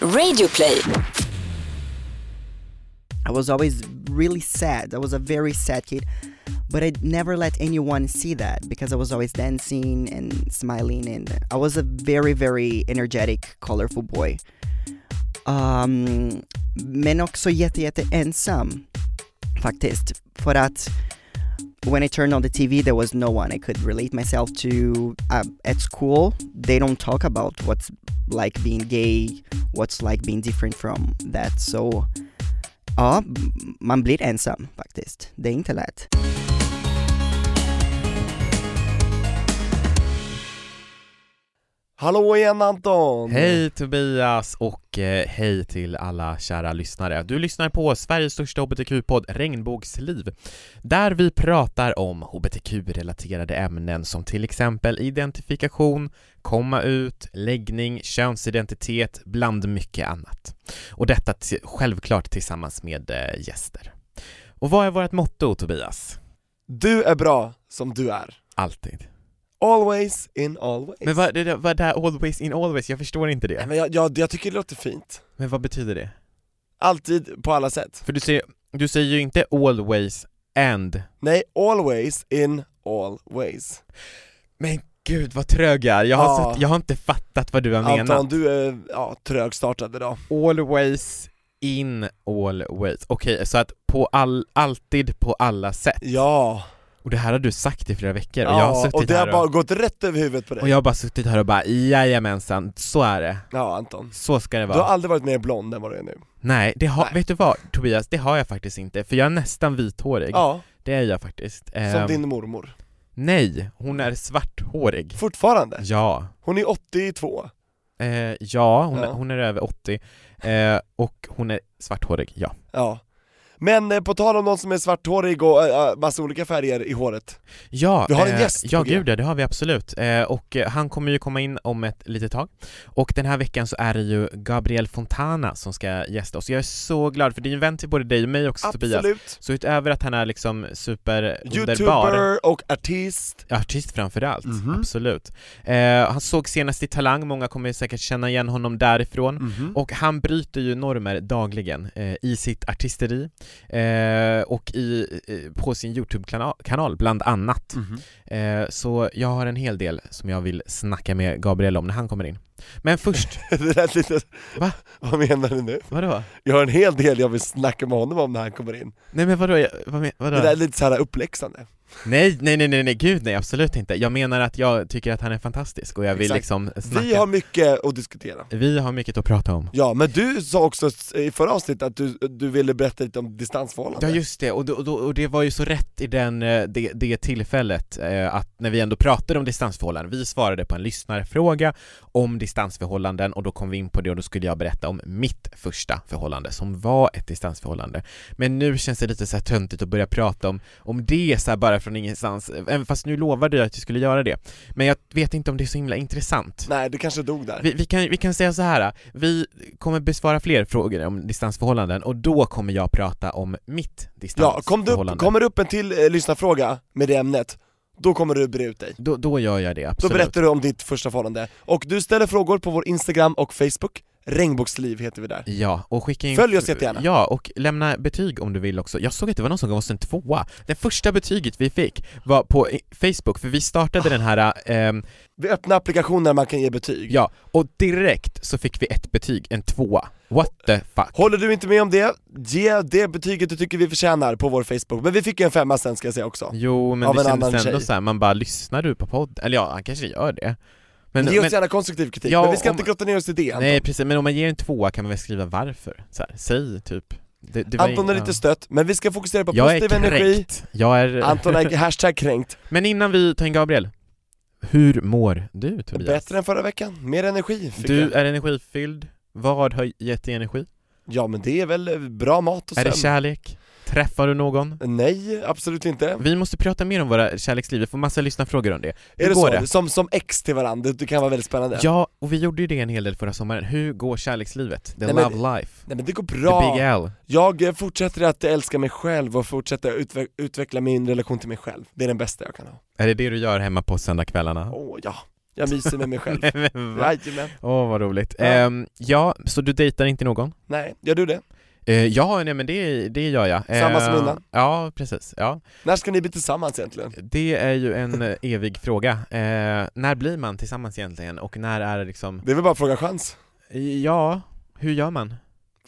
Radioplay. I was always really sad. I was a very sad kid, but I never let anyone see that because I was always dancing and smiling, and I was a very, very energetic, colorful boy. Um, men också jätte, jätte ensam faktiskt. För att when I turned on the TV, there was no one I could relate myself to. Uh, at school, they don't talk about what's like being gay, what's like being different from that. So, ja, m- man blir ensam faktiskt. Det är inte lätt. Hallå igen Anton! Hej Tobias och eh, hej till alla kära lyssnare. Du lyssnar på Sveriges största hbtq-podd Regnbågsliv, där vi pratar om hbtq-relaterade ämnen som till exempel identifikation, komma ut, läggning, könsidentitet, bland mycket annat. Och detta t- självklart tillsammans med eh, gäster. Och vad är vårt motto Tobias? Du är bra som du är. Alltid. Always in always. Men vad, det, det- vad det här always in always, jag förstår inte Nej, det. men jag, jag, jag tycker det låter fint. Men vad betyder det? Alltid, på alla sätt. För du säger, du säger ju inte always and Nej, always in always. Men gud vad trög jag är, jag har, Ja. sett, jag har inte fattat vad du har Anton, menat du är ja, trögstartad idag. Always in always, okej så att på all, alltid på alla sätt Ja, Och det här har du sagt i flera veckor och jag har ja suttit och det har här bara och, gått rätt över huvudet på dig. och jag har bara suttit här och bara jajamensan, så är det, Ja Anton, så ska det du vara har aldrig varit mer blond än vad du är nu. Nej, det har, Nej. vet du vad Tobias, det har jag faktiskt inte, för jag är nästan vithårig, Ja, det är jag faktiskt som Ehm, din mormor. Nej, hon är svarthårig Fortfarande. Ja, Hon är 82. Eh, ja, hon, Ja. hon är över 80 eh, och hon är svarthårig, ja. Ja. Men eh, på tal om någon som är svarthårig och eh, eh, massa olika färger i håret. Ja, Vi har en eh, gäst på ja G. gud ja, det har vi absolut. Eh, och eh, han kommer ju komma in om ett litet tag. Och den här veckan så är det ju Gabriel Fontana som ska gästa oss. Jag är så glad för det är ju en vän till både dig och mig också Tobias. Absolut. Så utöver att han är liksom superunderbar, Youtuber och artist. artist framförallt, Mhm. absolut. Eh, han såg senast i Talang, många kommer säkert känna igen honom därifrån. Och han bryter ju normer dagligen eh, i sitt artisteri eh, och i, eh, på sin Youtube-kanal bland annat. Eh, så jag har en hel del som jag vill snacka med Gabriel om när han kommer in. Men först, Det lät lite... Va? Vad menar du nu? vadå? Jag har en hel del jag vill snacka med honom om när han kommer in. Nej men vadå, jag- vad men- Det där är vadå? lite så här uppläxande. Nej, nej, nej, nej, nej, gud nej, absolut inte. Jag menar att jag tycker att han är fantastisk och jag vill Exakt. liksom snacka. Vi har mycket att diskutera. Vi har mycket att prata om. Ja, men du sa också i förra avsnittet att du, du ville berätta lite om distansförhållanden. Ja just det, och, då, och, då, och det var ju så rätt i den, eh, det, det tillfället eh, att när vi ändå pratade om distansförhållanden, vi svarade på en lyssnarfråga om distansförhållanden och då kom vi in på det och då skulle jag berätta om mitt första förhållande som var ett distansförhållande. Men nu känns det lite så här töntigt att börja prata om, om det så här bara från ingenstans, eh, även fast nu lovade jag att jag skulle göra det. Men jag vet inte om det är så himla intressant. Nej, du kanske dog där. Vi, vi, kan, vi kan säga så här. vi kommer besvara fler frågor om distansförhållanden och då kommer jag prata om Ja, mitt kom distansförhållande. du upp, kommer det upp en till eh, lyssnarfråga med det ämnet, då kommer du bre ut dig. då, då gör jag det, Då absolut. berättar du om ditt första förhållande. Och du ställer frågor på vår Instagram och Facebook, Regnbågsliv heter vi där. Ja, och skicka in... Följ oss jättegärna. Ja, och lämna betyg om du vill också. Jag såg att det var någon som gav oss en tvåa. Det första betyget vi fick var på i- Facebook, för vi startade den Ah. här, ehm, Vi öppnar applikationer där man kan ge betyg. ja, och direkt så fick vi ett betyg, en tvåa. What the fuck? Håller du inte med om det, ge det betyget du tycker vi förtjänar på vår Facebook. Men vi fick ju en femma sen ska jag säga också. Jo, men Av det en annan kändes ändå tjej. så här, man bara, lyssnar du på podd? Eller ja, han kanske gör det. Men, Ge men- oss gärna konstruktiv kritik, Ja, men vi ska om- inte grotta ner oss i det Anton. Nej precis, men om man ger en tvåa kan man väl skriva varför? Så här, säg typ det, det var Anton är ing- lite ja. stött, men vi ska fokusera på Jag är positiv energi. kränkt, jag är... Anton är hashtag kränkt. Men innan vi tar in Gabriel, hur mår du Tobias? Bättre än förra veckan, mer energi fick Du jag. är energifylld, vad har gett dig energi? Ja men det är väl bra mat och Är det sömn. kärlek? Träffar du någon? Nej, absolut inte. Vi måste prata mer om våra kärleksliv, vi får massa lyssnarfrågor om det. Hur Är det går så? det? Som, som ex till varandra, det kan vara väldigt spännande. Ja, och vi gjorde ju det en hel del förra sommaren. Hur går kärlekslivet? The Nej, men- love life? Nej men det går The big bra. L? Jag eh, fortsätter att älska mig själv och fortsätter att utve- utveckla min relation till mig själv. Det är den bästa jag kan ha. Är det det du gör hemma på söndagskvällarna? Åh ja. Jag myser med mig själv. Nej, men va? Jajamän. Åh vad roligt. Ja. Ehm, ja, så du dejtar inte någon? Nej, gör du det? Eh, ja, nej men det, det gör jag. Samma som Ehm, innan. Ja, precis. Ja. När ska ni bli tillsammans egentligen? Det är ju en eh, evig fråga. Eh, när blir man tillsammans egentligen? Och när är det liksom, Det är väl bara att fråga chans. ja, hur gör man?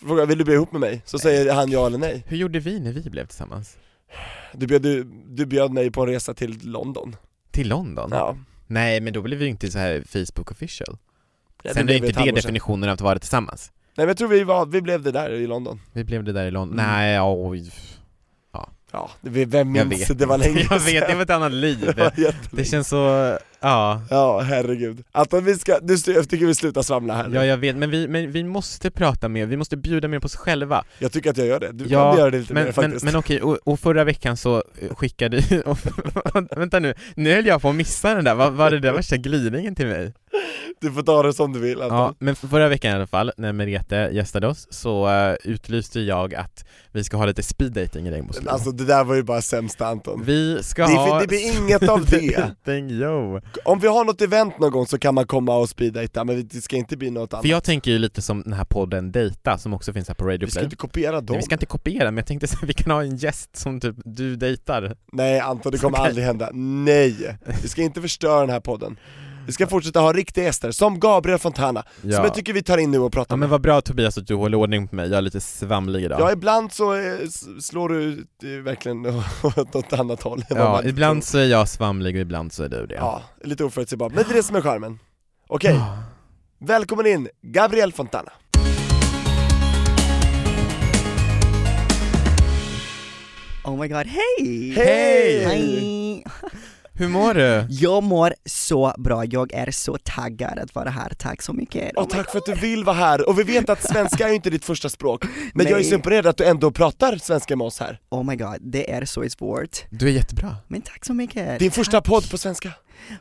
Fråga, vill du bli ihop med mig? Så säger han ja eller nej. Hur gjorde vi när vi blev tillsammans? Du bjöd, du, du bjöd mig på en resa till London. Till London? Ja. Nej, men då blev vi ju inte så här Facebook official. Ja, Sen är blev vi ett inte det halvår sedan. definitionen av att vara tillsammans. Nej men jag tror vi, var, vi blev det där i London. Vi blev det där i London. Mm. Nej, oj. Ja, det, vem Jag minns? vet. Det var länge Jag vet, det sedan. var ett annat liv. Det var Det jättelänge. känns så, ja. Ja, herregud. Anton, vi ska, nu, styr- jag tycker vi slutar svamla här nu. Ja, jag vet, men vi, men vi måste prata mer, vi måste bjuda mer på oss själva. Jag tycker att jag gör det. Du Ja, kan göra det lite men, mer men, faktiskt. men okej, och, och förra veckan så eh, skickade och, vänta nu, nu höll jag på att missa den där, vad var det där värsta glidningen till mig? Du får ta det som du vill Anton. Ja, men förra veckan i alla fall, när Merete gästade oss, så eh, utlyste jag att vi ska ha lite speed dating i Regnbågsliv. Men Alltså det där var ju bara sämsta Anton. vi ska Det- ha det blir inget av det. speed dating, yo. Om vi har något event någon gång så kan man komma och speeddejta, men det ska inte bli något annat. För jag tänker ju lite som den här podden Dejta, som också finns här på Radio Vi ska Play. inte kopiera dem. Nej, vi ska inte kopiera, men jag tänkte så här, vi kan ha en gäst som typ du dejtar. Nej Anton, det kommer Okej. aldrig hända. Nej! Vi ska inte förstöra den här podden. Vi ska fortsätta ha riktiga gäster, som Gabriel Fontana, som jag tycker vi tar in nu och pratar Ja men med. vad bra Tobias att du håller ordning på mig, jag är lite svamlig idag. Ja, ibland så eh, s- slår du ut, eh, verkligen åt något annat håll än vad Ja, man- ibland så är jag svamlig och ibland så är du det. Ja, lite oförutsägbart, men det är det som är charmen. Okej, välkommen in, Gabriel Fontana. Oh my god, hej! Hej! Hej! Hur mår du? Jag mår så bra, jag är så taggad att vara här, tack så mycket! Och tack för att du vill vara här, och vi vet att svenska är ju inte ditt första språk, men jag är Nej. så imponerad att du ändå pratar svenska med oss här. Oh my god, det är så svårt. Du är jättebra. Men tack så mycket! Din första podd på svenska.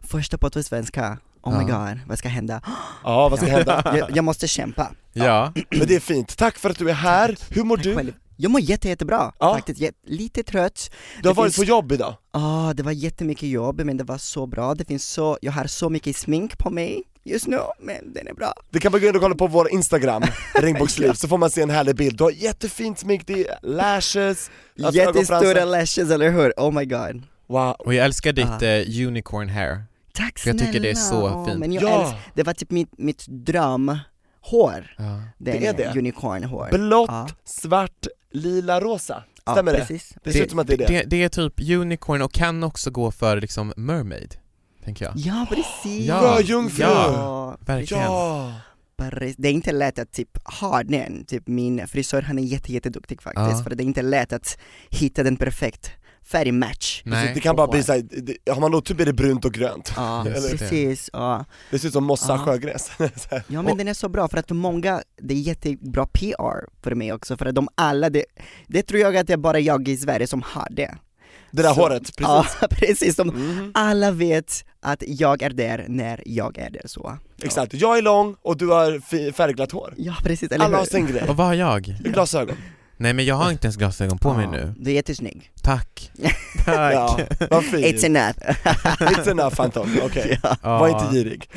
Första podd på svenska. Oh my Ja. god, vad ska hända? Ja, vad ska hända? Jag, jag måste kämpa. Ja. Men det är fint, tack för att du är här, hur mår Tack du? själv. Jag mår jätte, jättebra Ja. faktiskt, Jät- lite trött. Du har Det varit på finns- jobb idag? Ah, det var jättemycket jobb men det var så bra, det finns så, jag har så mycket smink på mig just nu, men den är bra. Det kan man gå in och kolla på vår instagram, regnbågsliv, så får man se en härlig bild. Du har jättefint smink, det är lashes, alltså Jättestora ögonfransar. lashes, eller hur? Oh my god. Wow. Och jag älskar ditt Ah. eh, unicorn hair. Tack För jag snälla! tycker det är så Åh, fint. Men jag Ja. älskar, det var typ mitt, mitt drömhår, Ja. den Det är det. unicornhår. Blått, Ja. svart, lila, rosa. Stämmer ja, det? precis. Det ser ut som att det är det. det. är typ unicorn och kan också gå för liksom mermaid, tänker jag. Ja, precis! Ja. Sjöjungfru! Ja, Verkligen. Ja! Paris. Det är inte lätt att typ ha den, typ min frisör han är jätte, jätteduktig faktiskt, Ja. för det är inte lätt att hitta den perfekt färgmatch. Precis, det Nej. kan bara bli Wow. såhär, det- har man otur blir det brunt och grönt. Ja, Just det. precis. Ja. Det ser ut som mossa Ja. sjögräs. Så här. ja men Och- den är så bra för att många, det är jättebra PR för mig också för att de alla, det, det tror jag att det är bara jag i Sverige som har det. det där Så- håret, precis. Ja, precis. De, Mhm. alla vet att jag är där när jag är där så. Exakt, jag är lång och du har fi- färgglatt hår. Ja, precis. Eller Alla hur? har sin grej. Och vad har jag? Glasögon. Nej men jag har inte ens glasögon på mig Ja, nu. Du är jättesnygg. Tack. Tack. Ja, vad fint. It's enough. It's enough Anton, okej. Ja. Var inte girig.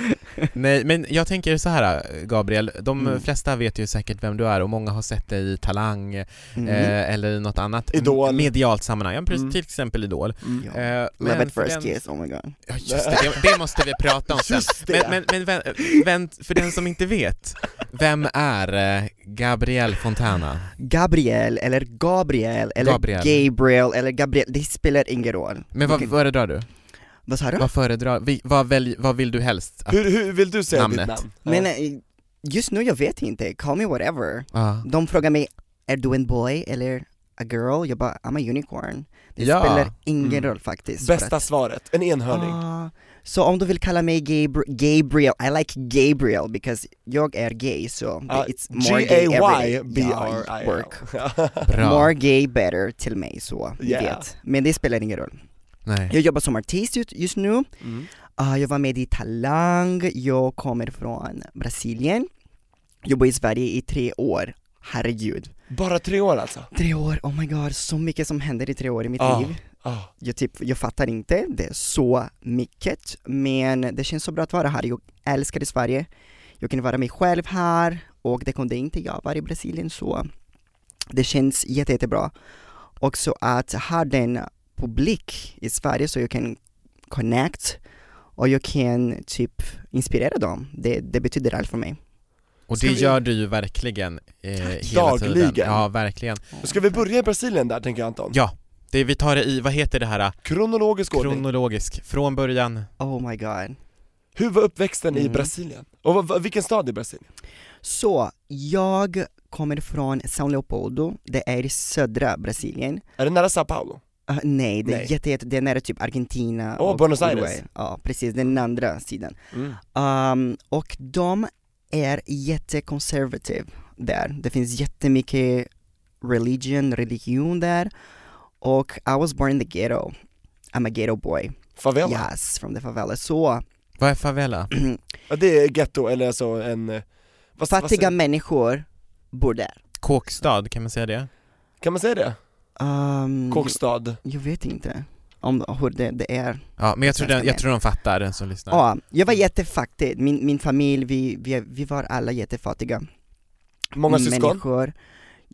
Nej, men jag tänker så här Gabriel, de Mm. flesta vet ju säkert vem du är och många har sett dig i Talang Mm. eh, eller i något annat Idol. medialt sammanhang, ja, precis, Mm. till exempel Idol. Mm. Ja. Eh, Love at för first den- kiss, oh my god. Ja just det, det, det måste vi prata om sen. Just det. Men, men, men vän, vän, för den som inte vet, vem är eh, Gabriel Fontana? Gabriel, eller Gabriel, eller Gabriel. Gabriel, eller Gabriel, det spelar ingen roll. Men vad Okej. föredrar du? Vad sa du? Vad föredrar, vi, vad, välj, vad vill du helst? Att, Hur, hur vill du säga ditt Namnet. namn? Men eh, just nu jag vet inte, call me whatever. ja. De frågar mig, är du en boy eller a girl? Jag bara, I'm a unicorn. Det Ja. spelar ingen Mm. roll faktiskt. för Bästa svaret, en enhörning. Ah, så om du vill kalla mig Gabr- Gabriel, I like Gabriel because jag är gay så Ah, it's more gay every day. Ja, G-A-Y-B-R-I-L. work. Bra. More gay better till mig så, ni Yeah. vet. Men det spelar ingen roll. Nej. Jag jobbar som artist just, just nu, Mm. Ah, jag var med i Talang, jag kommer från Brasilien, jobbar i Sverige i tre år. Herregud. Bara tre år alltså? Tre år, oh my god, så mycket som händer i tre år i mitt Ja. liv. Ah. Jag, typ, jag fattar inte, det är så mycket, men det känns så bra att vara här. Jag älskar Sverige, jag kan vara mig själv här och det kunde inte jag vara i Brasilien så det känns jätte, jättebra. Också att ha den publik i Sverige så jag kan connect och jag kan typ inspirera dem. Det, det betyder allt för mig. Och Ska det vi- gör du ju verkligen eh, hela tiden. Dagligen. Ja, verkligen. Ska vi börja i Brasilien där tänker jag Anton? Ja, det, vi tar det i, vad heter det här? eh, Kronologisk ordning. Kronologisk, från början. Oh my god. Hur var uppväxten i Mm. Brasilien? Och vad- vad- vilken stad i Brasilien? Så, jag kommer från São Leopoldo, det är i södra Brasilien. Är det nära Sao Paulo? Ah, nej, det Nej. är jätte, jätte, det är nära typ Argentina Åh, Buenos Aires. Uruguay. Ja, precis, den andra sidan. Ehm, och de är jättekonservativ där. Det finns jättemycket religion, religion där. Och I was born in the ghetto. I'm a ghetto boy. Favela? Yes, from the favela. Så Vad är favela? Ja, det är ghetto, eller alltså en... eh, Vad, vad fattiga säger- människor bor där. Kåkstad, kan man säga det? Kan man säga det? Ehm, Kåkstad? jag, jag vet inte om hur det, det är. Ja, men jag tror, den, jag tror de fattar, den som lyssnar. Ja, jag var jättefattig. Min, min familj, vi, vi, vi var alla jättefattiga. Många syskon? Mm, människor.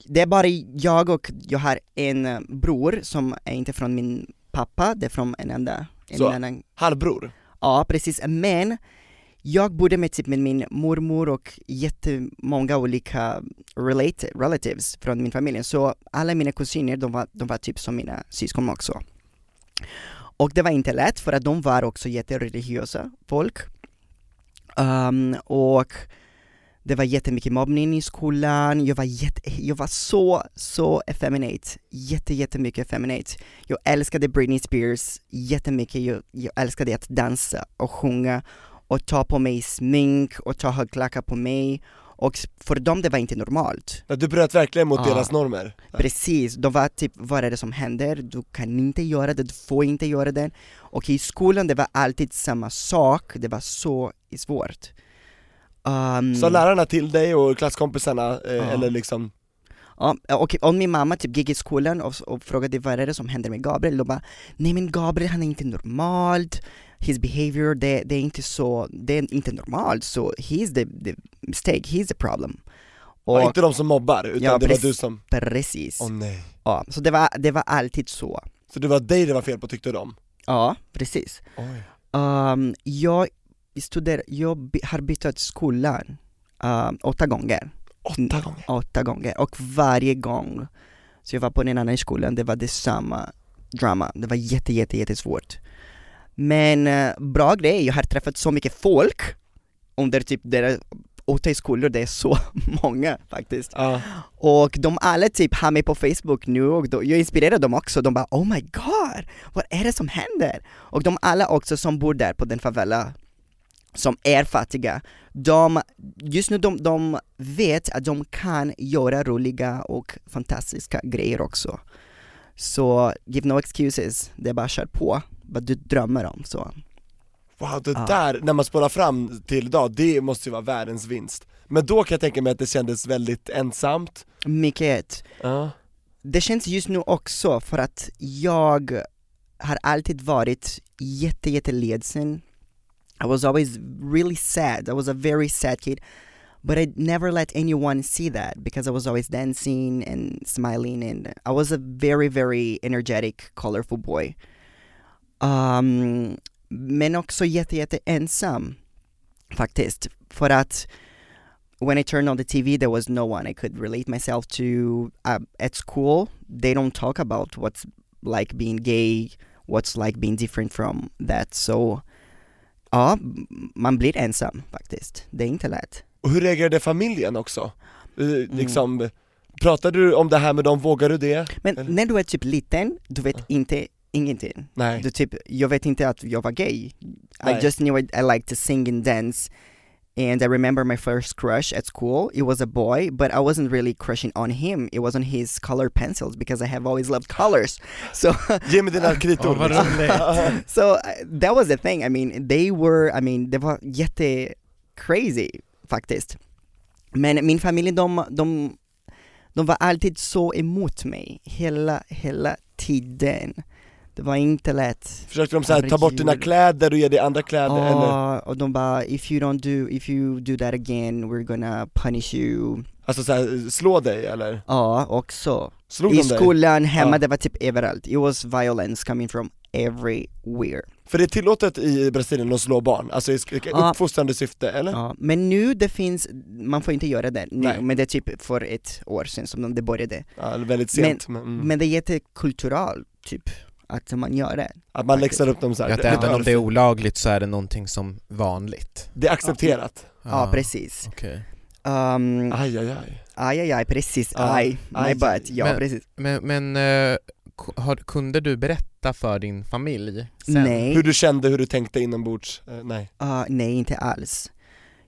Det är bara jag och jag har en eh, bror som är inte från min pappa, det är från en enda, en Så. annan, Halvbror? ja precis, men jag bodde med typ med min mormor och jättemånga olika relate, relatives från min familj, så alla mina kusiner, de var, de var typ som mina syskon också. Och det var inte lätt för att de var också jättereligiösa folk. Ehm, och det var jättemycket mobbning i skolan, jag var, jätte, jag var så, så effeminate. Jätte, jättemycket effeminate. Jag älskade Britney Spears jättemycket, jag, jag älskade att dansa och sjunga och ta på mig smink och ta högklackat på mig. Och för dem det var inte normalt. Ja, Du bröt verkligen mot Ja. deras normer? Precis, de var typ, vad är det som händer? Du kan inte göra det, du får inte göra det. Och i skolan det var alltid samma sak, det var så svårt. Um, Sa lärarna till dig och klasskompisarna, eh, Ja. eller liksom, Ja, och om min mamma typ gick i skolan och, och frågade vad är det som händer med Gabriel, då bara Nej men Gabriel han är inte normalt, his behavior, det, det är inte så, det är inte normalt, så he's the, the mistake, he's the problem och, Och inte de som mobbar, utan Ja, det var precis. du som, precis, åh nej ja, så det var, det var alltid så Så det var dig det var fel på tyckte de? Ja, precis Oj. um, Jag studer, jag by- har bytt skolan um, åtta gånger Mm. Åtta gånger? åtta gånger och varje gång så jag var på en annan skola, det var detsamma drama, det var jätte jätte jättesvårt Men eh, bra grej, jag har träffat så mycket folk under typ deras åtta skolor, det är så många faktiskt Ja, Och de alla typ har mig på Facebook nu och då, jag inspirerar dem också, de bara oh my god, vad är det som händer? Och de alla också som bor där på den favela som är fattiga, de, just nu de, de vet att de kan göra roliga och fantastiska grejer också. Så give no excuses, det är bara kör på vad du drömmer om så. wow det Ja. där, när man spårar fram till idag, det måste ju vara världens vinst Men då kan jag tänka mig att det kändes väldigt ensamt Mycket. Ja, Det känns just nu också för att jag har alltid varit jätte, jätteledsen. I was always really sad. I was a very sad kid. But I never let anyone see that because I was always dancing and smiling and I was a very, very energetic, colorful boy. Um, men också jätte, jätte ensam faktiskt. För att when I turned on the TV, there was no one I could relate myself to. Uh, at school, they don't talk about what's like being gay, what's like being different from that. So, ja, m- man blir ensam faktiskt. Det er är inte lätt. och hur reagerade familjen också? Eh, Liksom, pratade du om det här med dem, vågar du det? Men Eller- när du är typ liten, du vet Ja. inte ingenting. Nej, Du typ, jag vet inte att jag var gay. Nej. I just knew I, I liked to sing and dance. And I remember my first crush at school. It was a boy, but I wasn't really crushing on him. It was on his color pencils because I have always loved colors. So ge mig dina Åh, kritord vad roligt. so uh, that was the thing. I mean, they were, I mean, det var jätte crazy faktiskt. Men min familj, de, de, de var alltid så emot mig hela, hela tiden. Det var inte lätt. Försökte de såhär, ta bort dina kläder och ge dig andra kläder Ah. eller? Ja, och de bara if you don't do, if you do that again we're gonna punish you. Alltså såhär, slå dig eller? Ja, också. Slog I de dig? skolan, hemma, Ja. det var typ överallt. It was violence coming from everywhere. För det är tillåtet i Brasilien att slå barn, alltså i sk- Ja. uppfostrande syfte eller? Ja, men nu det finns, man får inte göra det nu, Nej. men det är typ för ett år sedan som det började. Ja, eller väldigt sent, men, mm. Men det är jättekulturalt, typ, att man gör det. att man läxar upp dem såhär, Att även om det är olagligt så är det någonting som vanligt. det är accepterat, Ah. Ja, precis. okej. Um, aj aj aj aj, aj, aj, precis, Ja. aj, my Ah. Aj. butt, ja Men- precis. Men, men eh, ku- har, kunde du berätta för din familj sen? Nej, Hur du kände, hur du tänkte inombords, Eh, nej ah, nej inte alls.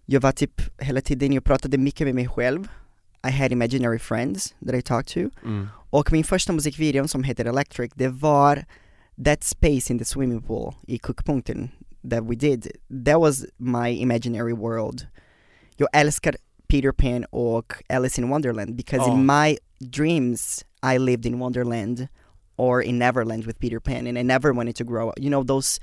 Jag var typ, hela tiden, jag pratade mycket med mig själv. I had imaginary friends that I talked to. mm. Och min första musikvideo som heter Electric, det var That space in the swimming pool i kokpunkten that we did. That was my imaginary world. Jag älskar Peter Pan och Alice in Wonderland because Ja. in my dreams I lived in Wonderland or in Neverland with Peter Pan and I never wanted to grow up. You know those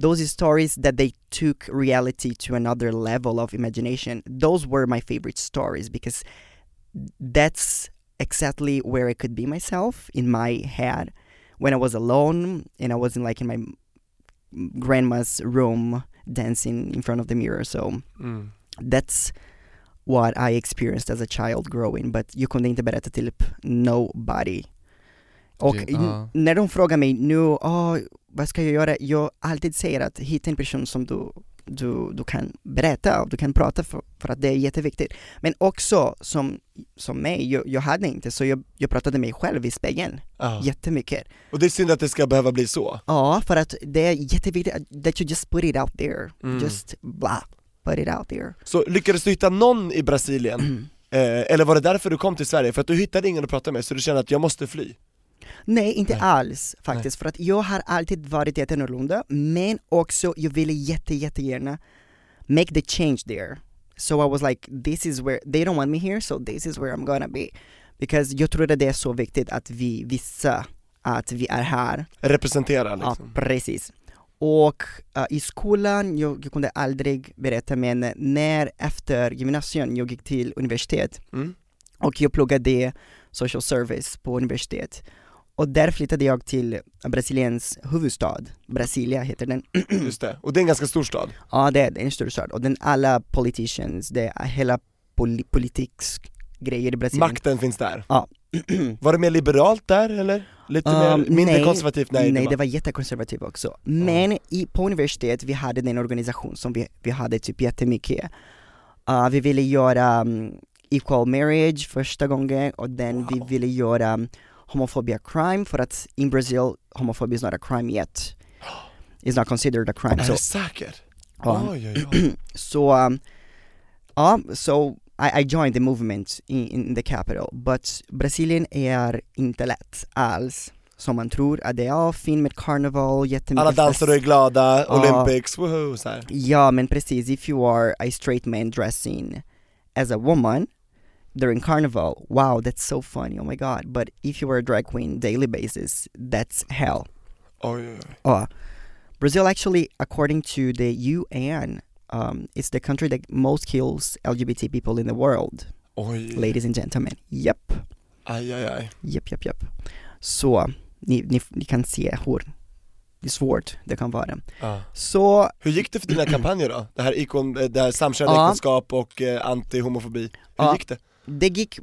those stories that they took reality to another level of imagination. Those were my favorite stories because that's exactly where I could be myself in my head when I was alone and I wasn't like in my grandma's room dancing in front of the mirror. So Mm. that's what I experienced as a child growing, but you kunde inte berätta till typ nobody. Och Det- n- ja. när de frågar mig nu, "Ah, vad ska jag göra? Jag alltid säger att hitta en person som du, du, du kan berätta och du kan prata för, för att det är jätteviktigt. Men också som, som mig, jag, jag hade inte, så jag, jag pratade med mig själv i spegeln Ja. jättemycket. Och det är synd att det ska behöva bli så Ja, för att det är jätteviktigt att- that you just put it out there. Mm. Just blah, put it out there. Mm. Så lyckades du hitta någon i Brasilien? Eh, eller var det därför du kom till Sverige? För att du hittade ingen att prata med, så du kände att jag måste fly? Nej, inte Nej. alls faktiskt. För att jag har alltid varit jätteannorlunda, men också jag ville jätte, jättegärna make the change there. So I was like, this is where, they don't want me here, so this is where I'm gonna be. Because jag tror att det är så viktigt att vi visar att vi är här Representera liksom Ja, precis. Och eh, i skolan, jag, jag kunde aldrig berätta, men när efter gymnasiet jag gick till universitet mm. och jag pluggade social service på universitet. Och där flyttade jag till Brasiliens huvudstad, Brasilia heter den. Just det, och det är en ganska stor stad Ja, det är en stor stad. Och den alla politicians, det är hela poli- politiksgrejer i Brasilien. Makten finns där Ja. Var det mer liberalt där eller? Lite Um, mer, mindre nej. konservativt? Nej, Nej, det, var... jättekonservativt också. Men i, på universitet, vi hade den organisation som vi, vi hade typ jättemycket. Uh, vi ville göra um, equal marriage första gången och den Wow. vi ville göra um, homophobia crime för att in Brazil, homophobia is not a crime yet. It's not considered a crime. Är so, um, du säker? ja. Oj, oj, oj. So, um, ja, so I, I joined the movement in, in the capital, but Brasilien är inte lätt alls som man tror att det är, ja, fin med karneval, jättemycket Alla dansare är fest. glada, Ja. Olympics, woho, så här. Ja men precis, if you are a straight man dressing as a woman during carnival, wow that's so funny, oh my god, but if you are a drag queen daily basis, that's hell. Oj, oj, oj. Uh, Brazil actually, according to the UN, um, it's the country that most kills LGBT people in the world, oj. ladies and gentlemen. Yep, Aj, aj, aj. yep, yep, yep. Så ni, ni, ni kan se hur svårt det kan vara. Ja. Så Hur gick det för dina kampanjer då? Det här, ikon, eh, det här samkönade Ja. äktenskap och eh, anti-homofobi, hur Ja. gick det? det gick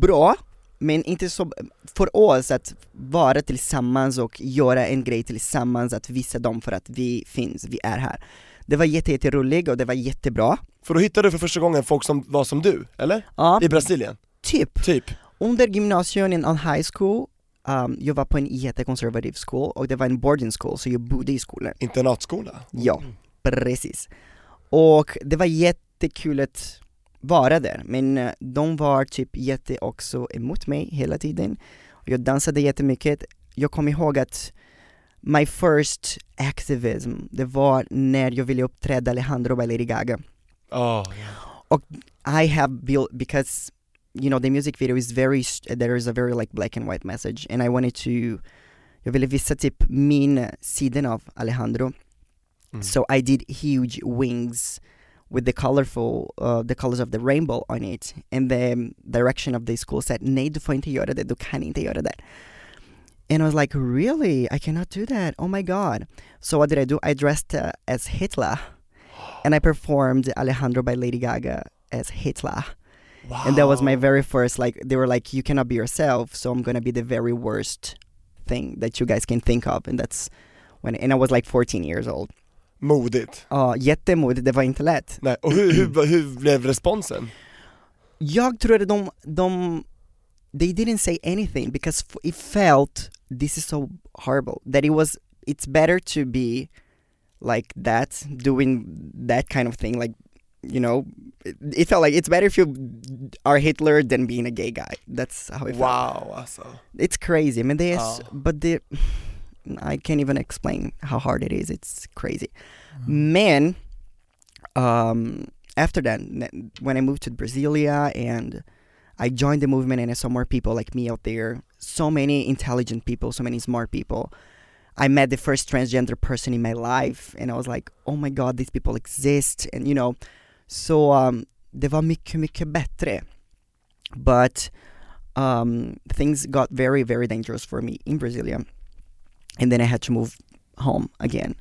bra, men inte så, för oss att vara tillsammans och göra en grej tillsammans, att visa dem för att vi finns, vi är här. Det var jätte, jätteroligt och det var jättebra. För då hittade du för första gången folk som var som du, eller? Ja, I Brasilien, typ. typ? Under gymnasiet, on high school, um, jag var på en jättekonservativ skola och det var en boarding school, så jag bodde i skolan. Internatskola? Ja, precis. Och det var jättekul att vara där, men eh, de var typ jätte också emot mig hela tiden. Och Jag dansade jättemycket. Jag kommer ihåg att my first activism, det var när jag ville uppträda Alejandro by Lady Gaga. Ja. I have built because you know the music video is very st- there is a very like black and white message, and I wanted to. jag ville visa typ min sidan av Alejandro. Mm. So I did huge wings with the colorful, uh, the colors of the rainbow on it. And the um, direction of the school said, nej du får inte göra det, du kan inte göra det. And I was like, really? I cannot do that. Oh my god. So what did I do? I dressed uh, as Hitler and I performed Alejandro by Lady Gaga as Hitler. Wow. And that was Oh. my very first, like, they were like, you cannot be yourself, so I'm gonna be the very worst thing that you guys can think of. And that's when, and I was like 14 years old. Uh, Modigt. Ja, jättemodigt, det var inte lätt. Nej, och hur, hur, hur blev responsen? Jag tror att de, de, they didn't say anything because f- it felt, this is so horrible, that it was, it's better to be like that, doing that kind of thing, like, you know, it, it felt like it's better if you are Hitler than being a gay guy. That's how it felt. Wow alltså. it's crazy. I mean, they, s- Oh. but the, I can't even explain how hard it is. It's crazy. Man, um, after that, n- when I moved to Brasilia and I joined the movement, and I saw more people like me out there. So many intelligent people, so many smart people. I met the first transgender person in my life, and I was like, "Oh my God, these people exist!" And you know, so um, det var mycket, mycket bättre. But um, things got very, very dangerous for me in Brasilia. And then I had to move home again.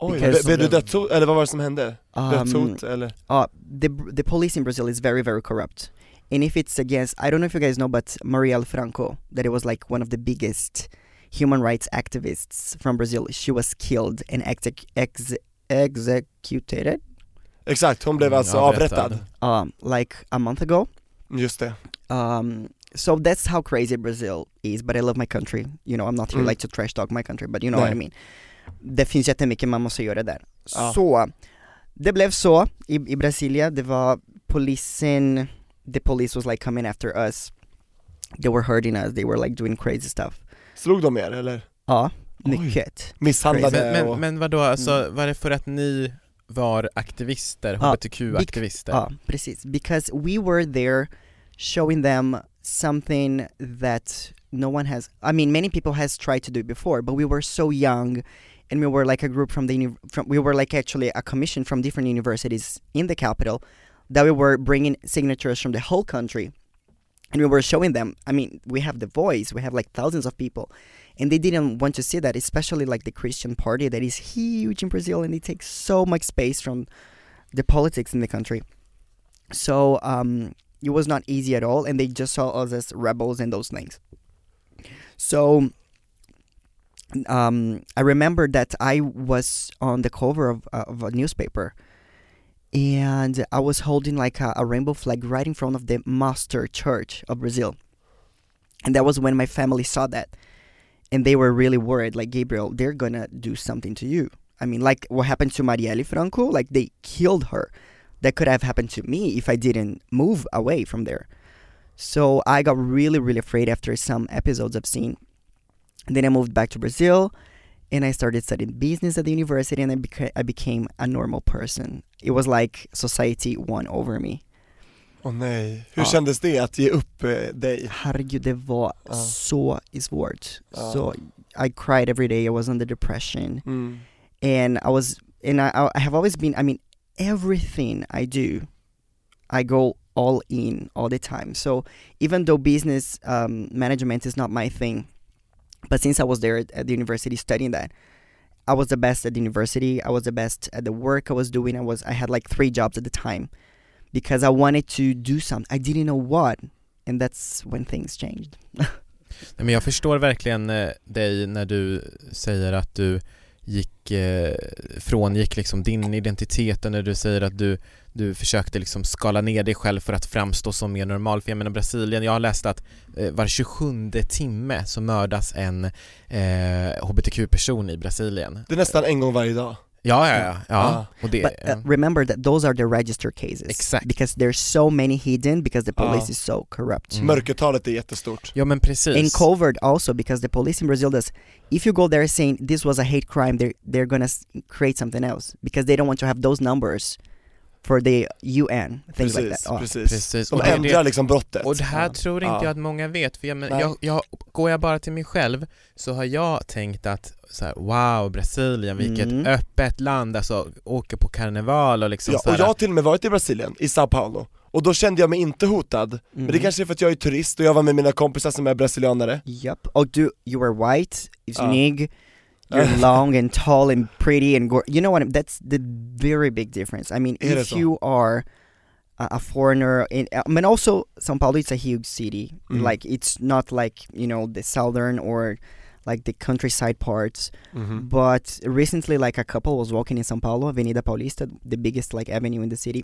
Oj, Because- blev blev du dödshot, eller vad var det som hände? Um, Dödshot eller? uh, the, the police in Brazil is very, very corrupt. And if it's against, I don't know if you guys know, but Marielle Franco, that it was like one of the biggest human rights activists from Brazil, she was killed and exec- ex- executed Exakt, hon blev Mm, alltså avrättad. avrättad. um, like a month ago. Just det. Um, so that's how crazy Brazil is, but I love my country. You know, I'm not here Mm. like to trash talk my country, but you know Nej. what I mean. Det finns jättemycket man måste göra där. Ja. Så, det blev så i, i Brasilia, det var polisen, the police was like coming after us. They were hurting us, they were like doing crazy stuff. Slog de er eller? Ja, Oj. mycket. Misshandlade Men, men, och... men vadå, alltså var det för att ni var aktivister, Mm. Ja, hbtq-aktivister? Ja, Ah, precis. Because we were there showing them something that no one has, I mean many people has tried to do before, but we were so young and we were like a group from the, uni- from, we were like actually a commission from different universities in the capital that we were bringing signatures from the whole country and we were showing them, I mean, we have the voice, we have like thousands of people and they didn't want to see that, especially like the Christian party that is huge in Brazil and it takes so much space from the politics in the country. So um, it was not easy at all, and they just saw us as rebels and those things. So um, I remember that I was on the cover of, of a newspaper, and I was holding like a, a rainbow flag right in front of the Master Church of Brazil, and that was when my family saw that, and they were really worried. Like Gabriel, they're gonna do something to you. I mean, like what happened to Marielle Franco? Like they killed her. That could have happened to me if I didn't move away from there. So I got really, really afraid after some episodes I've seen. And then I moved back to Brazil and I started studying business at the university and I, beca- I became a normal person. It was like society won over me. Åh nej. Hur Ja. kändes det att ge upp eh, dig? Herregud, det var Ja. så svårt. Ja. So I cried every day. I was under depression. Mm. and I was and I, I have always been I mean everything I do I go all in all the time so even though business um, management is not my thing but since I was there at, at the university studying that I was the best at the university I was the best at the work I was doing I was I had like three jobs at the time because I wanted to do something I didn't know what and that's when things changed Nej, men jag förstår verkligen eh, dig när du säger att du gick, eh, frångick liksom din identitet och när du säger att du, du försökte liksom skala ner dig själv för att framstå som mer normal. För jag menar Brasilien, jag har läst att eh, var 27 timme så mördas en eh, hbtq-person i Brasilien. Det är nästan en gång varje dag. Ja, ja, ja. ja. Ah. Och det, But uh, ja. remember that those are the register cases. Exact. Because there's so many hidden because the police Ah. is so corrupt. Mm. Mörkertalet är jättestort. ja, men precis. And covert also because the police in Brazil does. If you go there saying this was a hate crime, they're they're gonna s- create something else because they don't want to have those numbers for the UN, things like Precis, that. Oh, Ja. precis. Precis. Som Och det- ändrar det- liksom brottet. Och det här Ja. tror inte Ja. jag att många vet, för jag, men, Nej. jag, jag, går jag bara till mig själv så har jag tänkt att så här, wow, Brasilien, vilket Mm. öppet land, alltså åker på karneval och liksom Ja, så och här, jag har till och med varit i Brasilien, i Sao Paulo, och då kände jag mig inte hotad, men det Mm. kanske är för att jag är turist och jag var med mina kompisar som är brasilianare Yep. Och du, Oh, you were white, Ja. snygg, you're long and tall and pretty and gor- You know what, I'm- that's the very big difference. I mean, Är det if så? you are a, a foreigner, in, I mean also Sao Paulo, it's a huge city. Mm. Like, it's not like, you know, the southern or like the countryside parts. But recently, like a couple was walking in São Paulo, Avenida Paulista, the biggest like avenue in the city,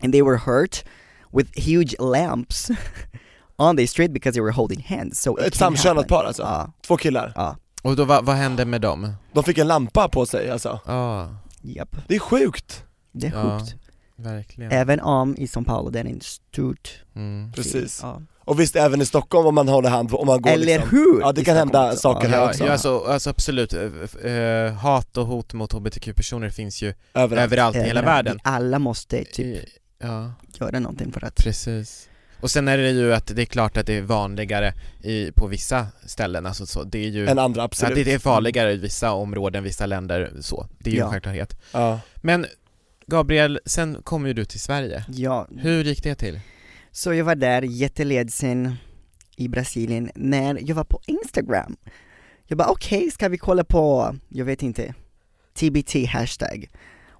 and they were hurt with huge lamps on the street because they were holding hands. So it Ett can samkönat happen. par alltså, Ah, två killar. ah, Och då, vad, vad hände med dem? De fick en lampa på sig alltså, Ja, yep, det är sjukt! det är Ja. sjukt. verkligen. Även om i um, São Paulo den är en stor Mm. Precis. Ja. Och visst, även i Stockholm om man håller hand på, om man går Ah. Eller liksom. hur? Ja, det I kan hända Stockholm också. saker Ja, här ja, Ja, också. ja, ja alltså, alltså absolut, Eh, f- eh, hat och hot mot hbtq-personer finns ju Överallt. Eh, överallt i hela Överallt. världen. Eh, Eh. Alla måste typ I- Ja, göra någonting för att... precis. Och sen är det ju att det är klart att det är vanligare i, på vissa ställen, alltså så, det är ju Än andra, Ja, absolut. det, det är farligare i vissa områden, vissa länder så. Det är ju Ja. en självklarhet. Ja. Men Gabriel, sen kom ju du till Sverige. Ja, Hur gick det till? Så jag var där jätteledsen i Brasilien när jag var på Instagram. Jag bara okej, ska vi kolla på, jag vet inte, TBT hashtag.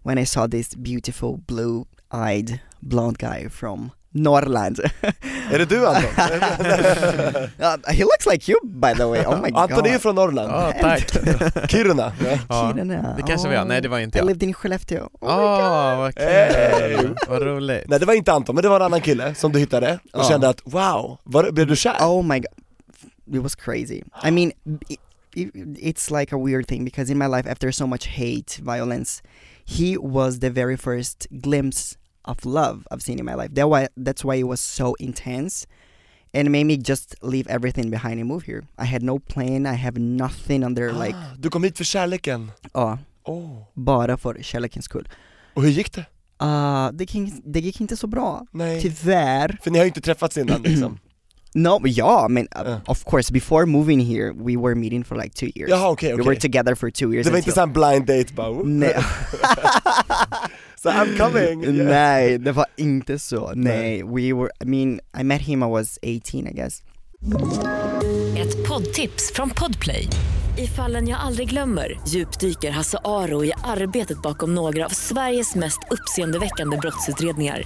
When I saw this beautiful blue eyed blonde guy from Norrland. Är det du Oh Anton? Uh, he looks like you by the way, oh my god. Anton är ju från Norrland, Ja, tack. Kiruna. Ja. Ja, Kiruna. det kanske var jag. Nej, det var I inte jag. lived in Skellefteå. Oh my Åh, vad Hey. kul! Vad roligt. Nej det var inte Anton, men det var en annan kille som du hittade och Ja. kände att wow, var, blev du kär? Oh my god, it was crazy. I mean, it, it, it's like a weird thing because in my life, after so much hate, violence, he was the very first glimpse of love I've seen in my life. That why that's why it was so intense, and it made me just leave everything behind and move here. I had no plan. I have nothing under Oh, like Ah, Du kom hit för kärleken. oh, Oh. bara för kärlekens skull. Och hur gick det? Uh, det, gick, det gick inte så bra. Nej. Tyvärr. För ni har ju inte träffats innan liksom. No, yeah, I mean, uh, Yeah. of course, before moving here, we were meeting for like two years. Jaha okej We okej. were together for two years. Det var inte såhär blind date bara, oh. Nej. Mm. so I'm coming. Yeah. Nej, det var inte så. Nej, we were, I mean, I met him I was 18 I guess. Ett poddtips från Podplay. I fallen jag aldrig glömmer djupdyker Hasse Aro i arbetet bakom några av Sveriges mest uppseendeväckande brottsutredningar.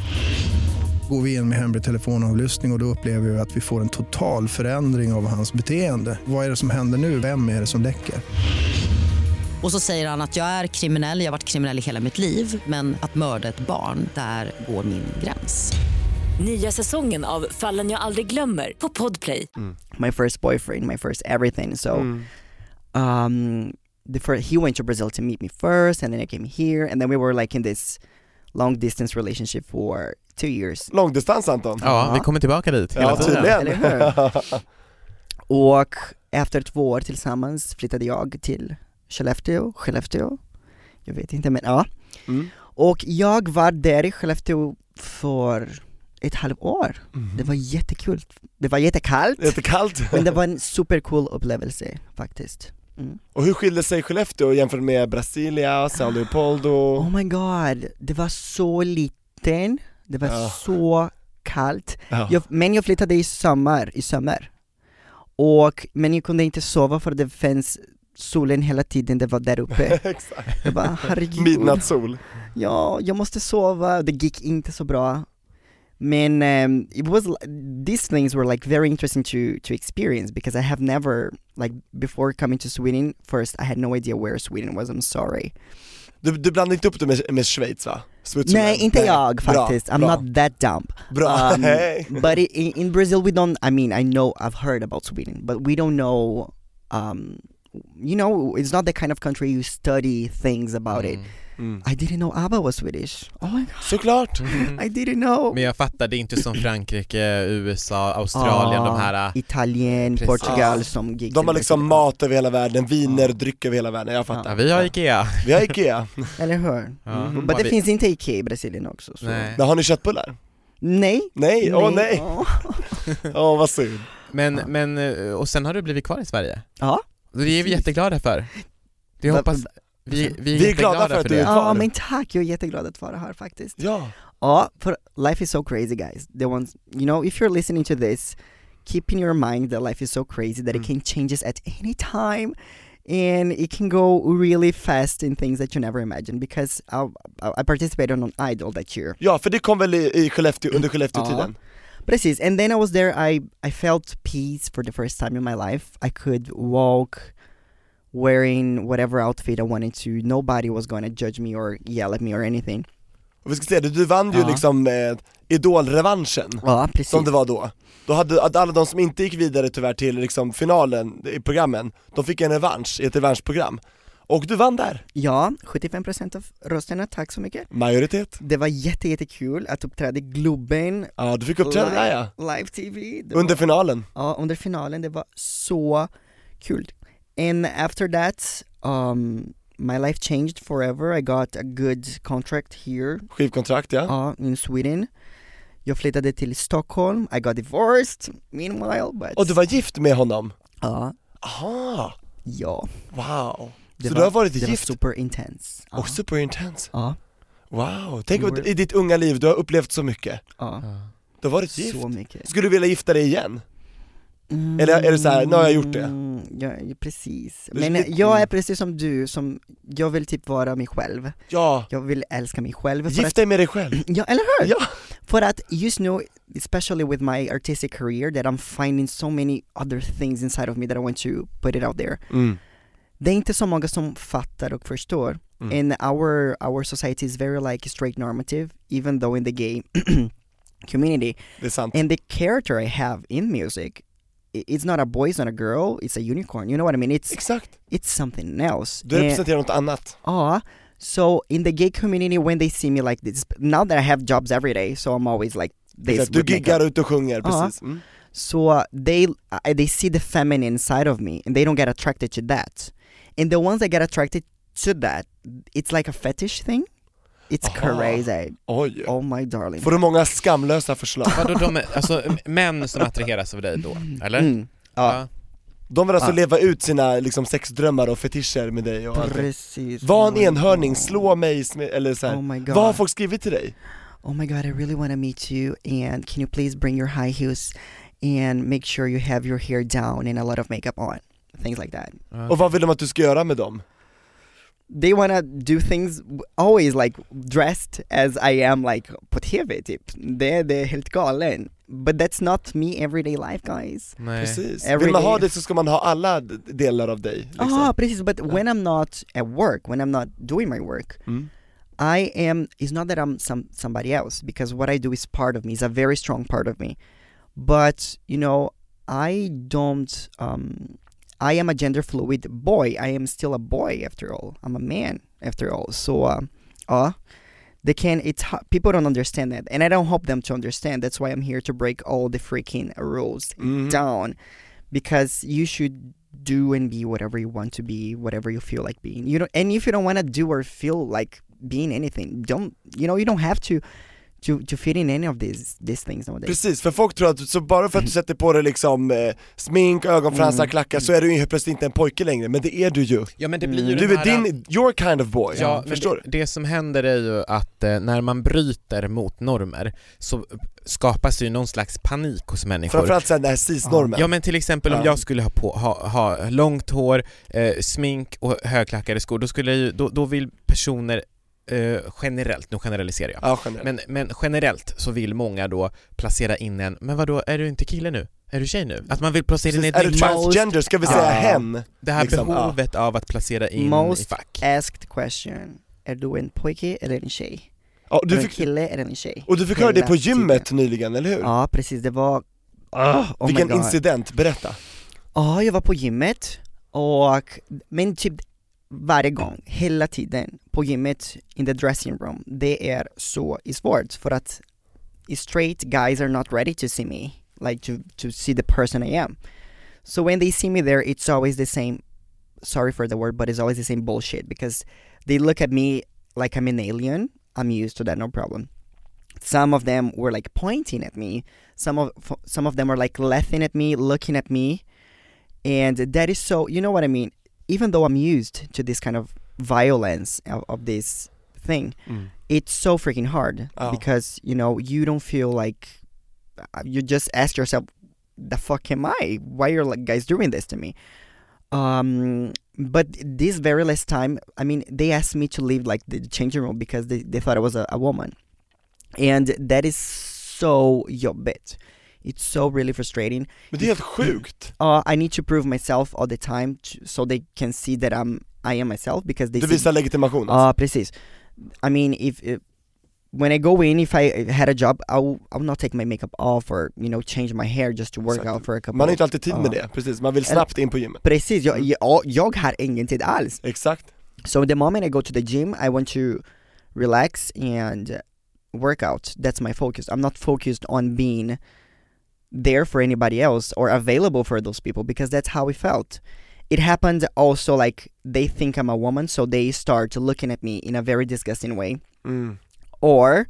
Går vi in med hemlig telefonavlyssning och, och då upplever vi att vi får en total förändring av hans beteende. Vad är det som händer nu? Vem är det som läcker? Och så säger han att jag är kriminell, jag har varit kriminell i hela mitt liv men att mörda ett barn, där går min gräns. Nya säsongen av Fallen jag aldrig glömmer på Podplay. My first boyfriend, my first everything. So, Mm. Hmm. um, the first, he went to Brazil to meet me first and then I came here and then we were like in this long distance relationship for two years. Långdistans Anton. Ja, vi kommer tillbaka dit hela Ja, tiden. tydligen. Eller hur? Och efter två år tillsammans flyttade jag till Skellefteå, Skellefteå, jag vet inte men ja. Mm. Och jag var där i Skellefteå för ett halvår. Mm. Det var jättekul. Det var jättekallt, Jättekallt. men det var en supercool upplevelse faktiskt. Mm. Och hur skilde sig Skellefteå jämfört med Brasilia, São Leopoldo? Oh my god, det var så liten, det var Ja. så kallt. Ja. Jag, men jag flyttade i sommar, i sommar. Och, men jag kunde inte sova för det fanns solen hela tiden, det var där uppe. Exakt. Jag bara herregud. Midnattssol. ja, jag måste sova, det gick inte så bra. Men ehm, it was, li- these things were like very interesting to, to experience because I have never, like before coming to Sweden, first I had no idea where Sweden was, I'm sorry. Du, du blandade inte upp det med, med Schweiz va? Switzerland. Nej, inte jag Bra, faktiskt, I'm bra, not that dumb. Bra. Mm. Um, but i- in, in Brazil we don't, I mean I know, I've heard about Sweden, but we don't know, um, you know, it's not the kind of country you study things about it. Mm. Mm. I didn't know ABBA was Swedish. Oh my god, Såklart! I didn't know. Mm. Men jag fattar, det är inte som Frankrike, USA, Australien, de här... äh, Italien, Precis. Portugal Ah. som gick De har liksom mat över hela världen, viner, dryck över hela världen, jag Ja, fattar vi har IKEA. Vi har Ikea, Eller hur? Ja. Mm. Mm. Men Har det vi- finns inte Ikea i Brasilien också. Så. Nej. men har ni köttbullar? Nej. Nej, åh nej! Åh. Åh vad synd Men, Ja. men, eh, och sen har du blivit kvar i Sverige? Ja. Det är vi jätteglada för. Det Va- hoppas, vi, vi är, Vi är glada för att du är det. Ja kvar. men tack, jag är jätteglad att vara här faktiskt. Ja, Ja, för life is so crazy guys. The ones, you know, if you're listening to this, keep in your mind that life is so crazy that it Mm. can changes at any time and it can go really fast in things that you never imagined because I, I, I participated on Idol that year. ja för det kom väl i, i Skellefteå, under Skellefteå-tiden? Precis, and then I was there, I, I felt peace for the first time in my life. I could walk wearing whatever outfit I wanted to. Nobody was going to judge me or yell at me or anything. Och vi ska säga det, du vann ju Ja. liksom eh, Idol-revanschen Ja, precis. Som det var då. Då hade att alla de som inte gick vidare tyvärr till liksom finalen i programmen, de fick en revansch i ett revanschprogram. Och du vann där, Ja, 75% av rösterna, tack så mycket. majoritet. Det var jätte, jättekul att uppträda i Globen Ja, du fick uppträda där ja, live TV. Det under var, finalen. ja, under finalen, det var så kul. And after that, um, my life changed forever. I got a good contract here Skivkontrakt ja. Ja, in Sweden. Jag flyttade till Stockholm, I got divorced meanwhile but... Och du var gift med honom? Ja, Aha, ja. wow. Det Så du har varit det gift? var superintense. Ja. Och superintens. Ja, Wow, tänk We om were- i ditt unga liv, du har upplevt så mycket. ja. Du har varit gift. Så mycket. Skulle du vilja gifta dig igen? Eller är det så här, nu har jag gjort det? Mm, Ja, ja, precis. Det är Mm. Men lite- jag är precis som du, som, jag vill typ vara mig själv. Ja, Jag vill älska mig själv. För gift att, dig med dig själv. ja, eller hur? Ja. För att just nu, especially with my artistic career, that I'm finding so many other things inside of me that I want to put it out there. Mm. det är inte så många som fattar och förstår. Mm. And our, our society is very like straight normative, even though in the gay community. Det är sant. And the character I have in music, i- it's not a boy, it's not a girl, it's a unicorn. You know what I mean? It's, Exakt. it's something else. Du And- representerar något annat. Ah, so in the gay community, when they see me like this, now that I have jobs every day, so I'm always like this. Exakt. Du with makeup. giggar ut och sjunger, Ja. precis. Mm. So uh, they uh, they see the feminine side of me, and they don't get attracted to that. And the ones that get attracted to that, it's like a fetish thing. It's Aha. crazy. Oj. Oh my darling. Får du många skamlösa förslag? Vadå de, alltså män som attraheras av dig då, eller? Mm. Ja, De vill alltså Ah. leva ut sina liksom, sexdrömmar och fetischer med dig och allting. precis. Var en Oh my enhörning, God. slå mig, sm- eller så här. Oh my god. Vad har folk skrivit till dig? Oh my god, I really want to meet you, and can you please bring your high heels, and make sure you have your hair down and a lot of makeup on, things like that. Ja. Och vad vill de att du ska göra med dem? They wanna do things w- always like dressed as I am like på TV typ. Det, det är helt galen. But that's not me everyday life guys. Nej. Precis. Every Vill man ha day. det så ska man ha alla d- delar av dig. Ah Liksom. precis, but when I'm not at work, when I'm not doing my work, Mm. I am, it's not that I'm some, somebody else because what I do is part of me, is a very strong part of me. But, you know, I don't, um, I am a gender fluid boy. I am still a boy after all. I'm a man after all. So, uh, uh they can, it's, ho- people don't understand that. And I don't hope them to understand. That's why I'm here to break all the freaking rules Mm. down because you should do and be whatever you want to be, whatever you feel like being. You know, and if you don't want to do or feel like being anything, don't you know? You don't have to to to fit in any of these these things nowadays. Precis, för folk tror att så bara för att du Mm. sätter på dig liksom eh, smink, ögonfransar, klackar så är du ju helt plötsligt inte en pojke längre, men det är du ju. Ja men Mm. det blir ju den Mm. Du är här- din, your kind of boy, Ja, men förstår du? det, det som händer är ju att eh, när man bryter mot normer så skapas ju någon slags panik hos människor. Framförallt sen den här cis-normen. Ja men till exempel om Ja. jag skulle ha, på, ha, ha långt hår, eh, smink och högklackade skor, då, skulle jag ju, då, då vill personer eh, generellt, nu generaliserar jag, Ja, generellt. men, men generellt så vill många då placera in en, men vadå, är du inte kille nu? Är du tjej nu? Att man vill placera in Precis, ett, är du nytt- transgender, ska vi säga Ja. hen? det här liksom, ja. behovet av att placera in i Most fack. Asked question: Är du en pojke eller en tjej? Ja, Du du är du en fick, kille eller en tjej? och du fick höra det på Hela gymmet tiden. nyligen, eller hur? Ja, Ah, precis. Det var. Oh, oh my Vilken God. incident, berätta. Ja, jag var på gymmet och, men typ varje gång, hela tiden, på gymmet, in the dressing room. Det är så svårt för att straight guys are not ready to see me, like to, to see the person I am. So when they see me there, it's always the same, sorry for the word, but it's always the same bullshit because they look at me like I'm an alien. I'm used to that, no problem. Some of them were like pointing at me. Some of f- some of them were like laughing at me, looking at me, and that is so. You know what I mean? Even though I'm used to this kind of violence of, of this thing, Mm. it's so freaking hard Oh. because you know you don't feel like uh, you just ask yourself the fuck am i why are like guys doing this to me um but this very last time i mean they asked me to leave like the changing room because they, they thought i was a, a woman and that is so your bit it's so really frustrating Men det är helt sjukt! uh, i need to prove myself all the time to, so they can see that i'm i am myself because they Du see- visar legitimation alltså. Ah, precis. I mean, if, if when I go in, if I had a job, I'll I'll not take my makeup off or you know change my hair just to work Exakt. out for a couple. Man har inte alltid tid Ja. med det, precis, man vill snabbt in på gymmet Precis, jag, jag, jag har ingen tid alls. Exakt, So the moment I go to the gym, I want to relax and work out. That's my focus. I'm not focused on being there for anybody else or available for those people because that's how we felt. It happened also like they think I'm a woman, so they start looking at me in a very disgusting way. mm. or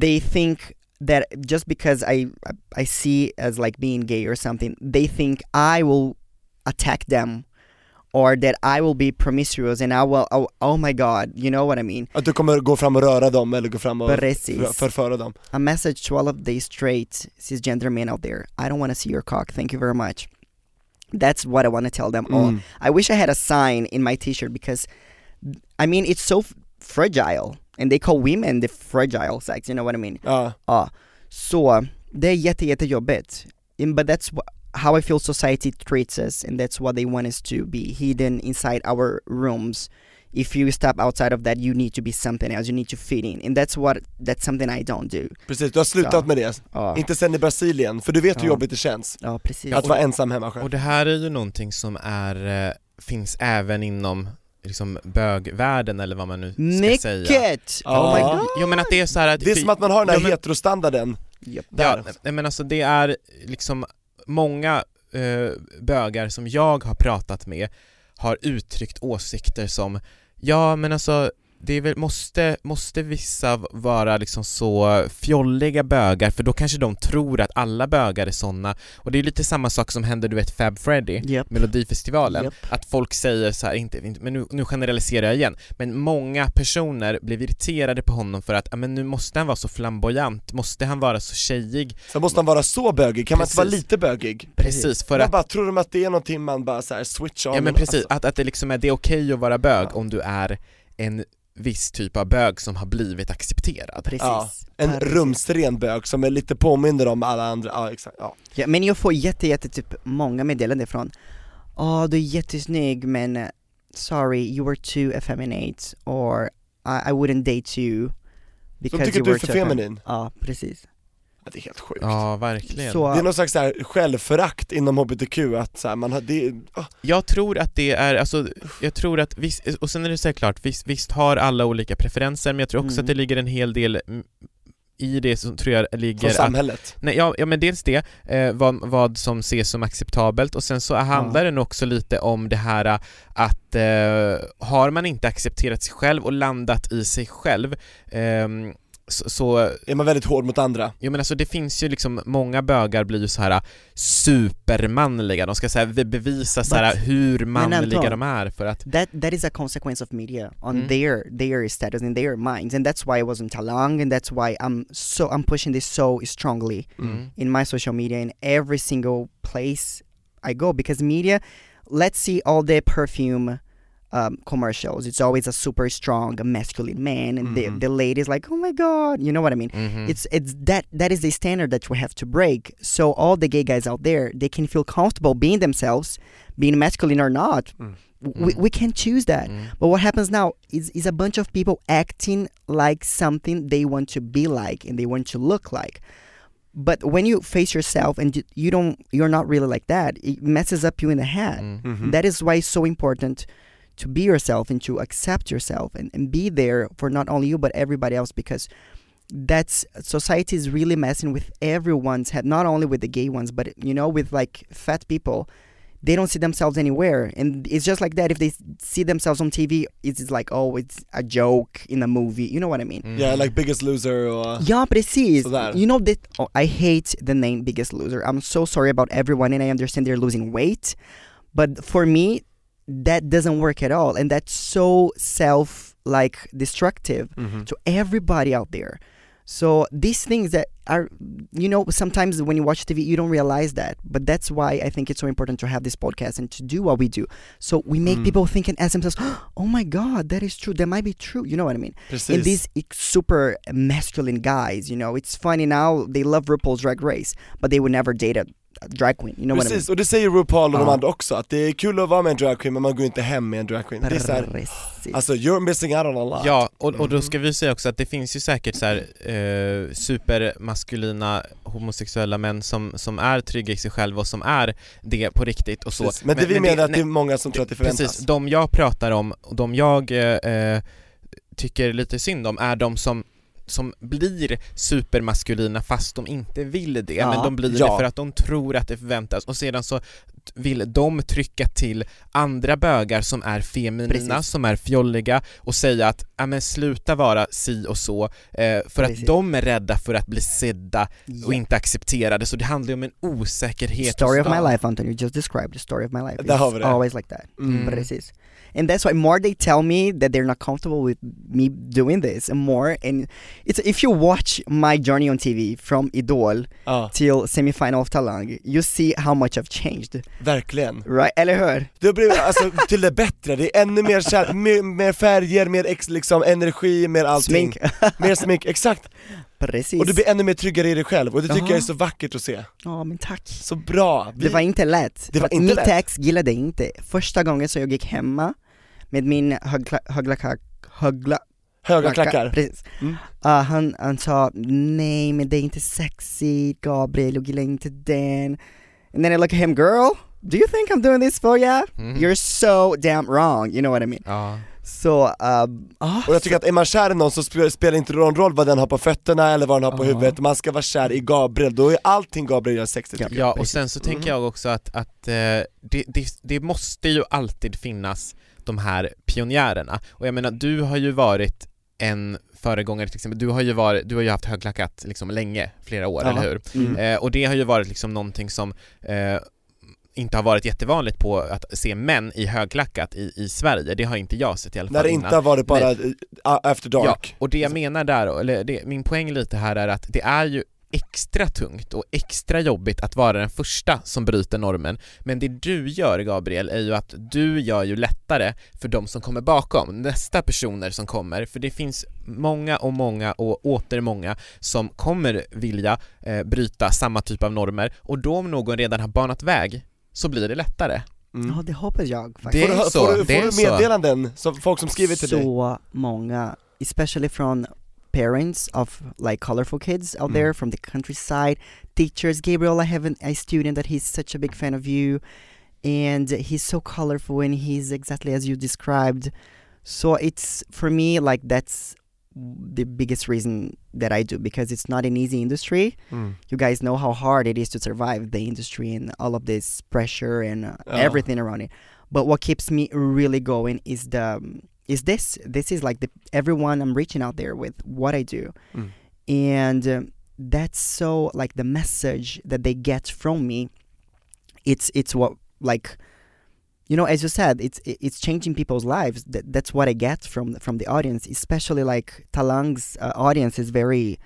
they think that just because I I see as like being gay or something, they think I will attack them, or that I will be promiscuous and I will oh, oh my god, you know what I mean? Att du kommer gå fram och röra dem eller gå fram och Precis. förföra dem A message to all of the straight cisgender men out there: I don't want to see your cock. Thank you very much. That's what I want to tell them all. Mm. I wish I had a sign in my T-shirt because, I mean, it's so f- fragile, and they call women the fragile sex. You know what I mean? Ja, Ja, så det är jätte, jättejobbigt. In- But that's wh- how I feel society treats us and that's what they want us to be hidden inside our rooms. If you step outside of that you need to be something else, you need to fit in. And that's what, that's something I don't do. precis, du har slutat Ja. med det, Ja, inte sen i Brasilien, för du vet hur Ja. jobbigt det känns ja precis. att vara ensam hemma själv Och det här är ju någonting som är, eh, finns även inom liksom bögvärlden eller vad man nu ska säga. Mycket! Ja. Oh my god! Jo men att det är så här att... Det är som att man har den här Ja, men- heterostandarden Japp. där Ja, nej, men alltså det är liksom många eh, bögar som jag har pratat med har uttryckt åsikter som ja men alltså det är väl, måste, måste vissa v- vara liksom så fjolliga bögar för då kanske de tror att alla bögar är såna och det är lite samma sak som hände du vet Fab Freddy Japp. Melodifestivalen, Japp. att folk säger så här, inte, inte men nu, nu generaliserar jag igen, men många personer blev irriterade på honom för att, ja, men nu måste han vara så flamboyant, måste han vara så tjejig? Sen måste man vara så bögig, kan man inte vara Precis. lite bögig? Precis, för Man att, bara, tror de att det är någonting man bara så här switch on? ja men precis, Alltså, att, att det liksom är, det är okej att vara bög om du är en viss typ av bög som har blivit accepterad. Precis. Ja, en Precis. rumsren bög som är lite påminner om alla andra, ja exakt, ja. Ja, men jag får jätte, jätte typ många meddelanden från Åh, du är jättesnygg men eh, sorry, you were too effeminate or I, I wouldn't date you De tycker att du är för effem-" feminin, Ja, precis. ja, det är helt sjukt Ja, verkligen. Så, Det är någon slags så här självförakt inom HBTQ, att så här, man har, det, ah, Jag tror att det är, alltså, jag tror att, visst, och sen är det såklart, visst, visst har alla olika preferenser, men jag tror också Mm. att det ligger en hel del mm, i det som tror jag från ligger att samhället Nej, ja, ja men dels det, eh, vad, vad som ses som acceptabelt och sen så handlar det nog också lite om det här eh, att eh, har man inte accepterat sig själv och landat i sig själv ehm, så, så är man väldigt hård mot andra jag menar så det finns ju liksom, många bögar blir ju så här eh, supermanliga, de ska så här be- bevisa så här But- hur manliga Anton- de är för att that, that is a consequence of media on Mm. their, their status and their minds and that's why I wasn't along and that's why I'm so, I'm pushing this so strongly Mm. in my social media in every single place I go because media let's see all the perfume um, commercials it's always a super strong masculine man and Mhm. the, the ladies like oh my god you know what I mean Mhm. it's it's that that is the standard that we have to break so all the gay guys out there they can feel comfortable being themselves being masculine or not Mm. we, we can choose that Mm. but what happens now is, is a bunch of people acting like something they want to be like and they want to look like. But when you face yourself and you- you don't, you're not really like that, it messes up you in the head. Mm. Mhm. That is why it's so important to be yourself and to accept yourself and, and be there for not only you but everybody else because that's society is really messing with everyone's head not only with the gay ones but you know with like fat people they don't see themselves anywhere and it's just like that if they s- see themselves on tv it's just like oh it's a joke in a movie you know what i mean Mm-hmm. Yeah, like Biggest Loser och... yeah, precis. Sådär. You know that oh, I hate the name Biggest Loser. I'm so sorry about everyone, and I understand they're losing weight, but for me, that doesn't work at all, and that's so self like destructive to everybody out there. So these things that are, you know, sometimes when you watch TV, you don't realize that, but that's why I think it's so important to have this podcast and to do what we do. So we make people think and ask themselves, "Oh my God, that is true. That might be true." You know what I mean? Precis. And these ex- super masculine guys, you know, it's funny now, they love RuPaul's Drag Race, but they would never date a, a drag queen, you know Precis, och det säger RuPaul och de Ja. andra också, att det är kul att vara med en dragqueen men man går inte hem med en dragqueen. what Det I är mean? såhär, Precis. alltså you're missing out on a lot. Ja, och, och då ska vi säga också att det finns ju säkert så här, eh, supermaskulina homosexuella män som, som är trygga i sig själva och som är det på riktigt och så. Precis. Men det vi menar är att det är många som tror att det förväntas. Precis, de jag pratar om och de jag eh, eh, tycker lite synd om är de som som blir supermaskulina fast de inte vill det, Ja. men de blir Ja. det för att de tror att det förväntas och sedan så t- vill de trycka till andra bögar som är feminina, Precis. som är fjolliga och säga att ja men sluta vara si och så eh, för Precis. att de är rädda för att bli sedda och Yeah. inte accepterade så det handlar ju om en osäkerhet Story hos of my dem. life, Anton, you just described the story of my life. Där har vi It's det. always like that. Mm. Precis. And that's why more they tell me that they're not comfortable with me doing this, and more, and it's if you watch my journey on TV from Idol Ja, till semifinal of Talang, you see how much I've changed, verkligen. right? Eller hur? Det har blivit, alltså till det bättre, det är ännu mer, kär, mer, mer färger, mer ex, liksom, energi, mer allting. Smink. Mer smink, exakt. Precis. Och du blir ännu mer tryggare i dig själv och det tycker Ja. jag är så vackert att se. Ja, men tack. Så bra! Det var inte lätt. Det var För att inte mitt lätt. ex gillade inte. Första gången som jag gick hemma med min högla, högla, högla, Höga klackar. Precis. Mm. Ah, han, han sa nej men det är inte sexigt, Gabriel, jag gillar inte den. And then I look at him, girl, do you think I'm doing this for ya? Mm. You're so damn wrong, you know what I mean? Mhm. Ja. Så, ah, ah, Och jag tycker att är man kär i någon så spe- spelar inte någon roll vad den har på fötterna eller vad den har på Ja. huvudet, man ska vara kär i Gabriel, då är allting Gabriel gör sexigt Ja. tycker jag. Ja, och precis. sen så tänker Mhm. jag också att, att eh, det, det, det måste ju alltid finnas de här pionjärerna. Och jag menar, du har ju varit en föregångare till exempel, du har ju, varit, du har ju haft högklackat liksom länge, flera år, Ja. eller hur? mm. Eh, och det har ju varit liksom någonting som eh, inte har varit jättevanligt på att se män i högklackat i, i Sverige, det har inte jag sett i alla fall När det innan. inte har varit bara eh, after dark. Ja, och det jag menar där, eller det, min poäng lite här är att det är ju extra tungt och extra jobbigt att vara den första som bryter normen. Men det du gör Gabriel är ju att du gör ju lättare för de som kommer bakom, nästa personer som kommer, för det finns många och många och åter många som kommer vilja eh, bryta samma typ av normer och då om någon redan har banat väg så blir det lättare. Mm. Ja, det hoppas jag faktiskt. Det får är du, så, får du, det är får du så. meddelanden, som folk som skriver till så dig? många, especially from parents of like colorful kids Mm. out there from the countryside, teachers. Gabriel, I have an, a student that he's such a big fan of you, and he's so colorful and he's exactly as you described. So it's for me like that's the biggest reason that I do because it's not an easy industry. Mm. You guys know how hard it is to survive the industry and all of this pressure and uh, Yeah. everything around it. But what keeps me really going is the um, is this this is like the everyone I'm reaching out there with what I do, Mm. and um, that's so like the message that they get from me. It's it's what like. You know, as you said, it's it- it's changing people's lives. That, that's what I get from from the audience, especially like Talang's uh, audience is very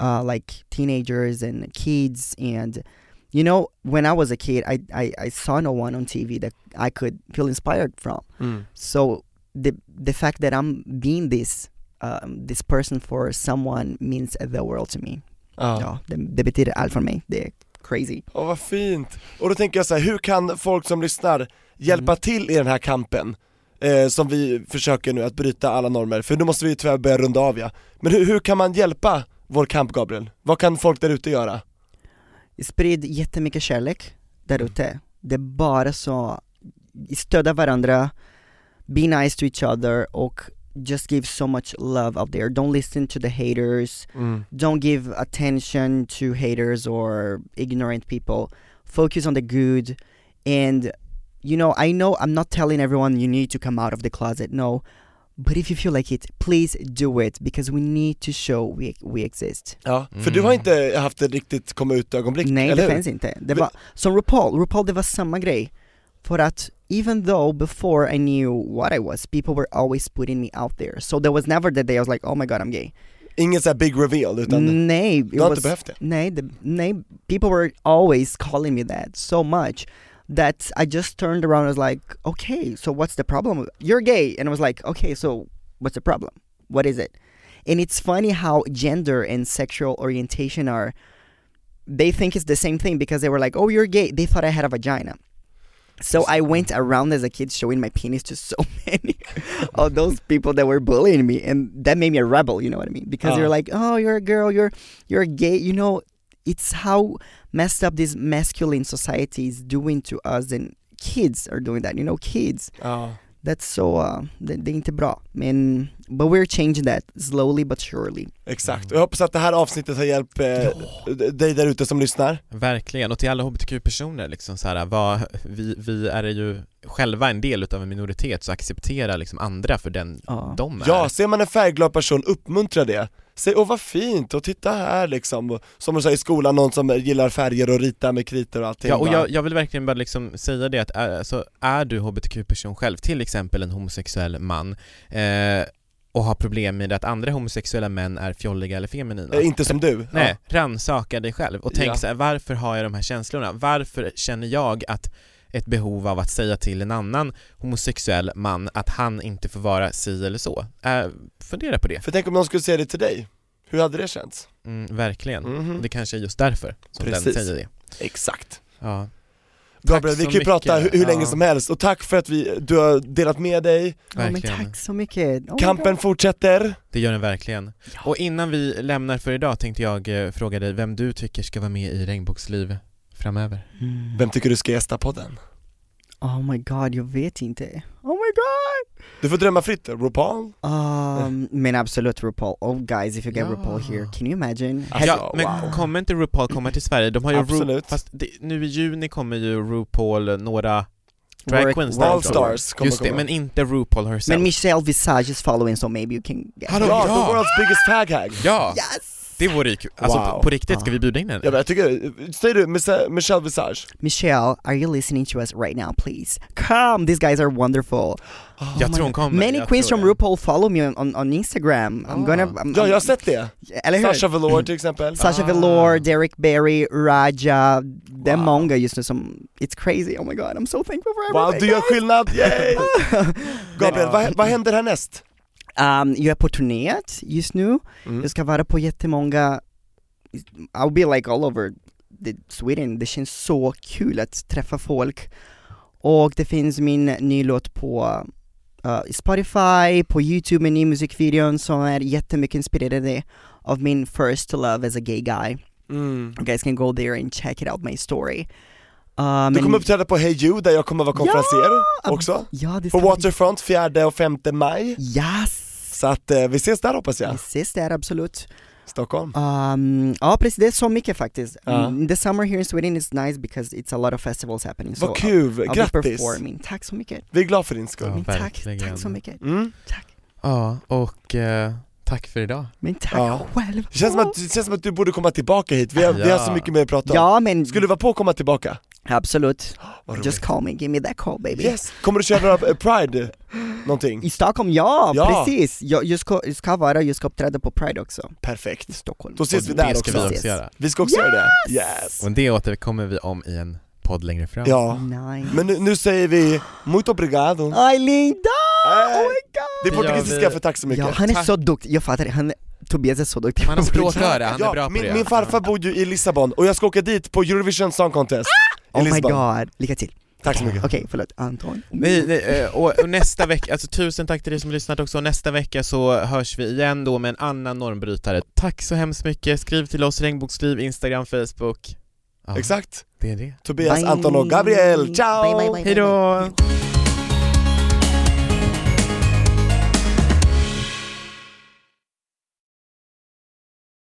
uh, like teenagers and kids and you know when i was a kid I, I, I saw no one on tv that i could feel inspired from Mm. so the the fact that i'm being this um, this person for someone means the world to me Ja. ja, det, det betyder allt för mig det är crazy Åh vad fint! Och då tänker jag så här, hur kan folk som lyssnar hjälpa Mm. till i den här kampen? Eh, som vi försöker nu att bryta alla normer, för nu måste vi ju tyvärr börja runda av ja. Men hur, hur kan man hjälpa vår kamp Gabriel? Vad kan folk där ute göra? sprid jättemycket kärlek där ute. Det är bara så, stödja varandra. be nice to each other och just give so much love out there. Don't listen to the haters. Mm. Don't give attention to haters or ignorant people. Focus on the good and you know, I know I'm not telling everyone you need to come out of the closet. No. But if you feel like it, please do it because we need to show we, we exist. Ja, för Mm. du har inte haft ett riktigt komma ut-ögonblick, Nej eller det hur? finns inte. Det Men- var, som RuPaul, RuPaul det var samma grej. För att even though before I knew what I was, people were always putting me out there. So there was never the day I was like oh my god I'm gay. Ingen så här big reveal, utan nej, it du har inte was, behövt det. nej, the, nej, people were always calling me that so much that I just turned around and was like okay so what's the problem? You're gay and I was like okay so what's the problem? What is it? And it's funny how gender and sexual orientation are they think it's the same thing because they were like, "Oh, you're gay." They thought I had a vagina. So I went around as a kid showing my penis to so many of those people that were bullying me, and that made me a rebel. You know what I mean? Because Uh. you're like, "Oh, you're a girl. You're you're gay." You know, it's how messed up this masculine society is doing to us, and kids are doing that. You know, kids. Ja. That's so uh, det, det är inte bra. Men but we're changing that slowly but surely. Mm. Exakt, och jag hoppas att det här avsnittet har hjälpt eh, dig där ute som lyssnar. Verkligen, och till alla hbtq-personer liksom så här, vad, vi, vi är ju själva en del utav en minoritet så acceptera liksom andra för den Ja. de är. Ja, ser man en färgglad person, uppmuntra det. Säg åh vad fint, och titta här liksom. Och Som du säger i skolan, någon som gillar färger och ritar med kritor och allting. Ja, och bara. jag, jag vill verkligen bara liksom säga det att äh, alltså, är du hbtq-person själv, till exempel en homosexuell man, eh, och har problem med att andra homosexuella män är fjolliga eller feminina. Eh, Inte som du. Nej, rannsaka dig själv och tänk Ja. så här, varför har jag de här känslorna? Varför känner jag att ett behov av att säga till en annan homosexuell man att han inte får vara si eller så? Eh, fundera på det. Ja. För tänk om någon skulle säga det till dig, hur hade det känts? Mm, verkligen. Mhm. Det kanske är just därför som den Precis. säger det. Exakt. Ja. Gabriel, så vi kan ju prata hur, mycket. hur länge Ja. som helst, och tack för att vi, du har delat med dig, Ja, men Verkligen. tack så mycket. Oh my kampen fortsätter. Det gör den verkligen. Och innan vi lämnar för idag tänkte jag eh, fråga dig vem du tycker ska vara med i Regnbågsliv framöver. God. Mm. Vem tycker du ska gästa podden? Oh my god, jag vet inte. Oh my god! Du får drömma fritt, RuPaul? Um, men absolut RuPaul. Oh guys, if you get Ja. RuPaul here, can you imagine? Alltså, ja, men wow. kommer inte RuPaul komma till Sverige? De har ju Ru- Absolut. fast det, nu i juni kommer ju RuPaul eh, några drag Work- queens world All därifrån. tour. Stars kommer Just det, komma. men inte RuPaul herself. Men Michelle Visage is following so maybe you can get Hallå, Ja, Ja. the world's biggest tag hag! Ja, Yes! det vore ju kul. Alltså Wow. på, på riktigt, ska vi bjuda in henne? Ja, men jag tycker, säger du Mise- Michelle Visage? Michelle, are you listening to us right now please? Come, these guys are wonderful. Oh jag my tror hon God. kommer. Many jag queens tror from det. RuPaul follow me on, on, on Instagram. I'm Ah. gonna... I'm, Ja, jag har sett det! Mm. Eller hur? Sasha Velour till exempel. Sasha Ah. Velour, Derek Barry, Raja, det är Wow. många just nu som, it's crazy, oh my god, I'm so thankful for Wow, everything du gör guys. skillnad! Yay! Gabriel, vad, vad händer härnäst? Um, jag är på turnéet just nu, Mm. jag ska vara på jättemånga, I'll be like all over the Sweden, det känns så kul att träffa folk och det finns min ny låt på uh, Spotify, på Youtube med ny musikvideon som är jättemycket inspirerade av min first love as a gay guy. Mm. You guys can go there and check it out my story. Um, Du and- kommer uppträda på Hey You där jag kommer vara konferenser Ja! också. Ja, det På ska Waterfront 4 och 5 maj. bli- Yes! Så att eh, vi ses där hoppas Ja. jag, Vi ses där absolut. Stockholm. Um, ja precis, det är så mycket faktiskt. Ja. Mm, the summer here in Sweden is nice because it's a lot of festivals happening. so Vad kul, I'll, I'll be grattis! performing. Tack så mycket. Vi är glada för din skull. Ja, Men tack, verkligen. tack så mycket. Mm. Tack. Ja, och eh, tack för idag. Men tack Ja. själv. Det känns, som att, det känns som att du borde komma tillbaka hit, vi har, vi har Ja. så mycket mer att prata om. Ja men Skulle du vara på att komma tillbaka? absolut. Vad Just roligt. call me, give me that call baby. Yes! Kommer du köra några eh, Pride, någonting? I Stockholm, ja, Ja. precis! Jag, jag, ska, jag ska vara, jag ska uppträda på Pride också, i Perfekt. Stockholm. Då ses vi det där ska också. vi också göra. Vi ska också göra det. Yes! Och det återkommer vi om i en podd längre fram. Ja, Nice. men nu, nu säger vi muito obrigado. Ay Linda! Nej. Oh my god! Det är Det gör portugisiska vi. för tack så mycket. Ja, han är Tack. så duktig, jag fattar, han, Tobias är så duktig Han har språkröra, han är bra på min, det. min farfar bor ju i Lissabon och jag ska åka dit på Eurovision Song Contest i Oh my Lissabon. god, lycka till! Tack så mycket. Okej, förlåt, Anton Nej, nej, eh, och och nästa vecka, alltså tusen tack till dig som lyssnat också, nästa vecka så hörs vi igen då med en annan normbrytare. Tack så hemskt mycket, skriv till oss, regnbågsliv, Instagram, Facebook. Ja, Exakt. det är det. Tobias, Bye. Anton och Gabriel, ciao! Bye, bye, bye, bye, Hej bye. då!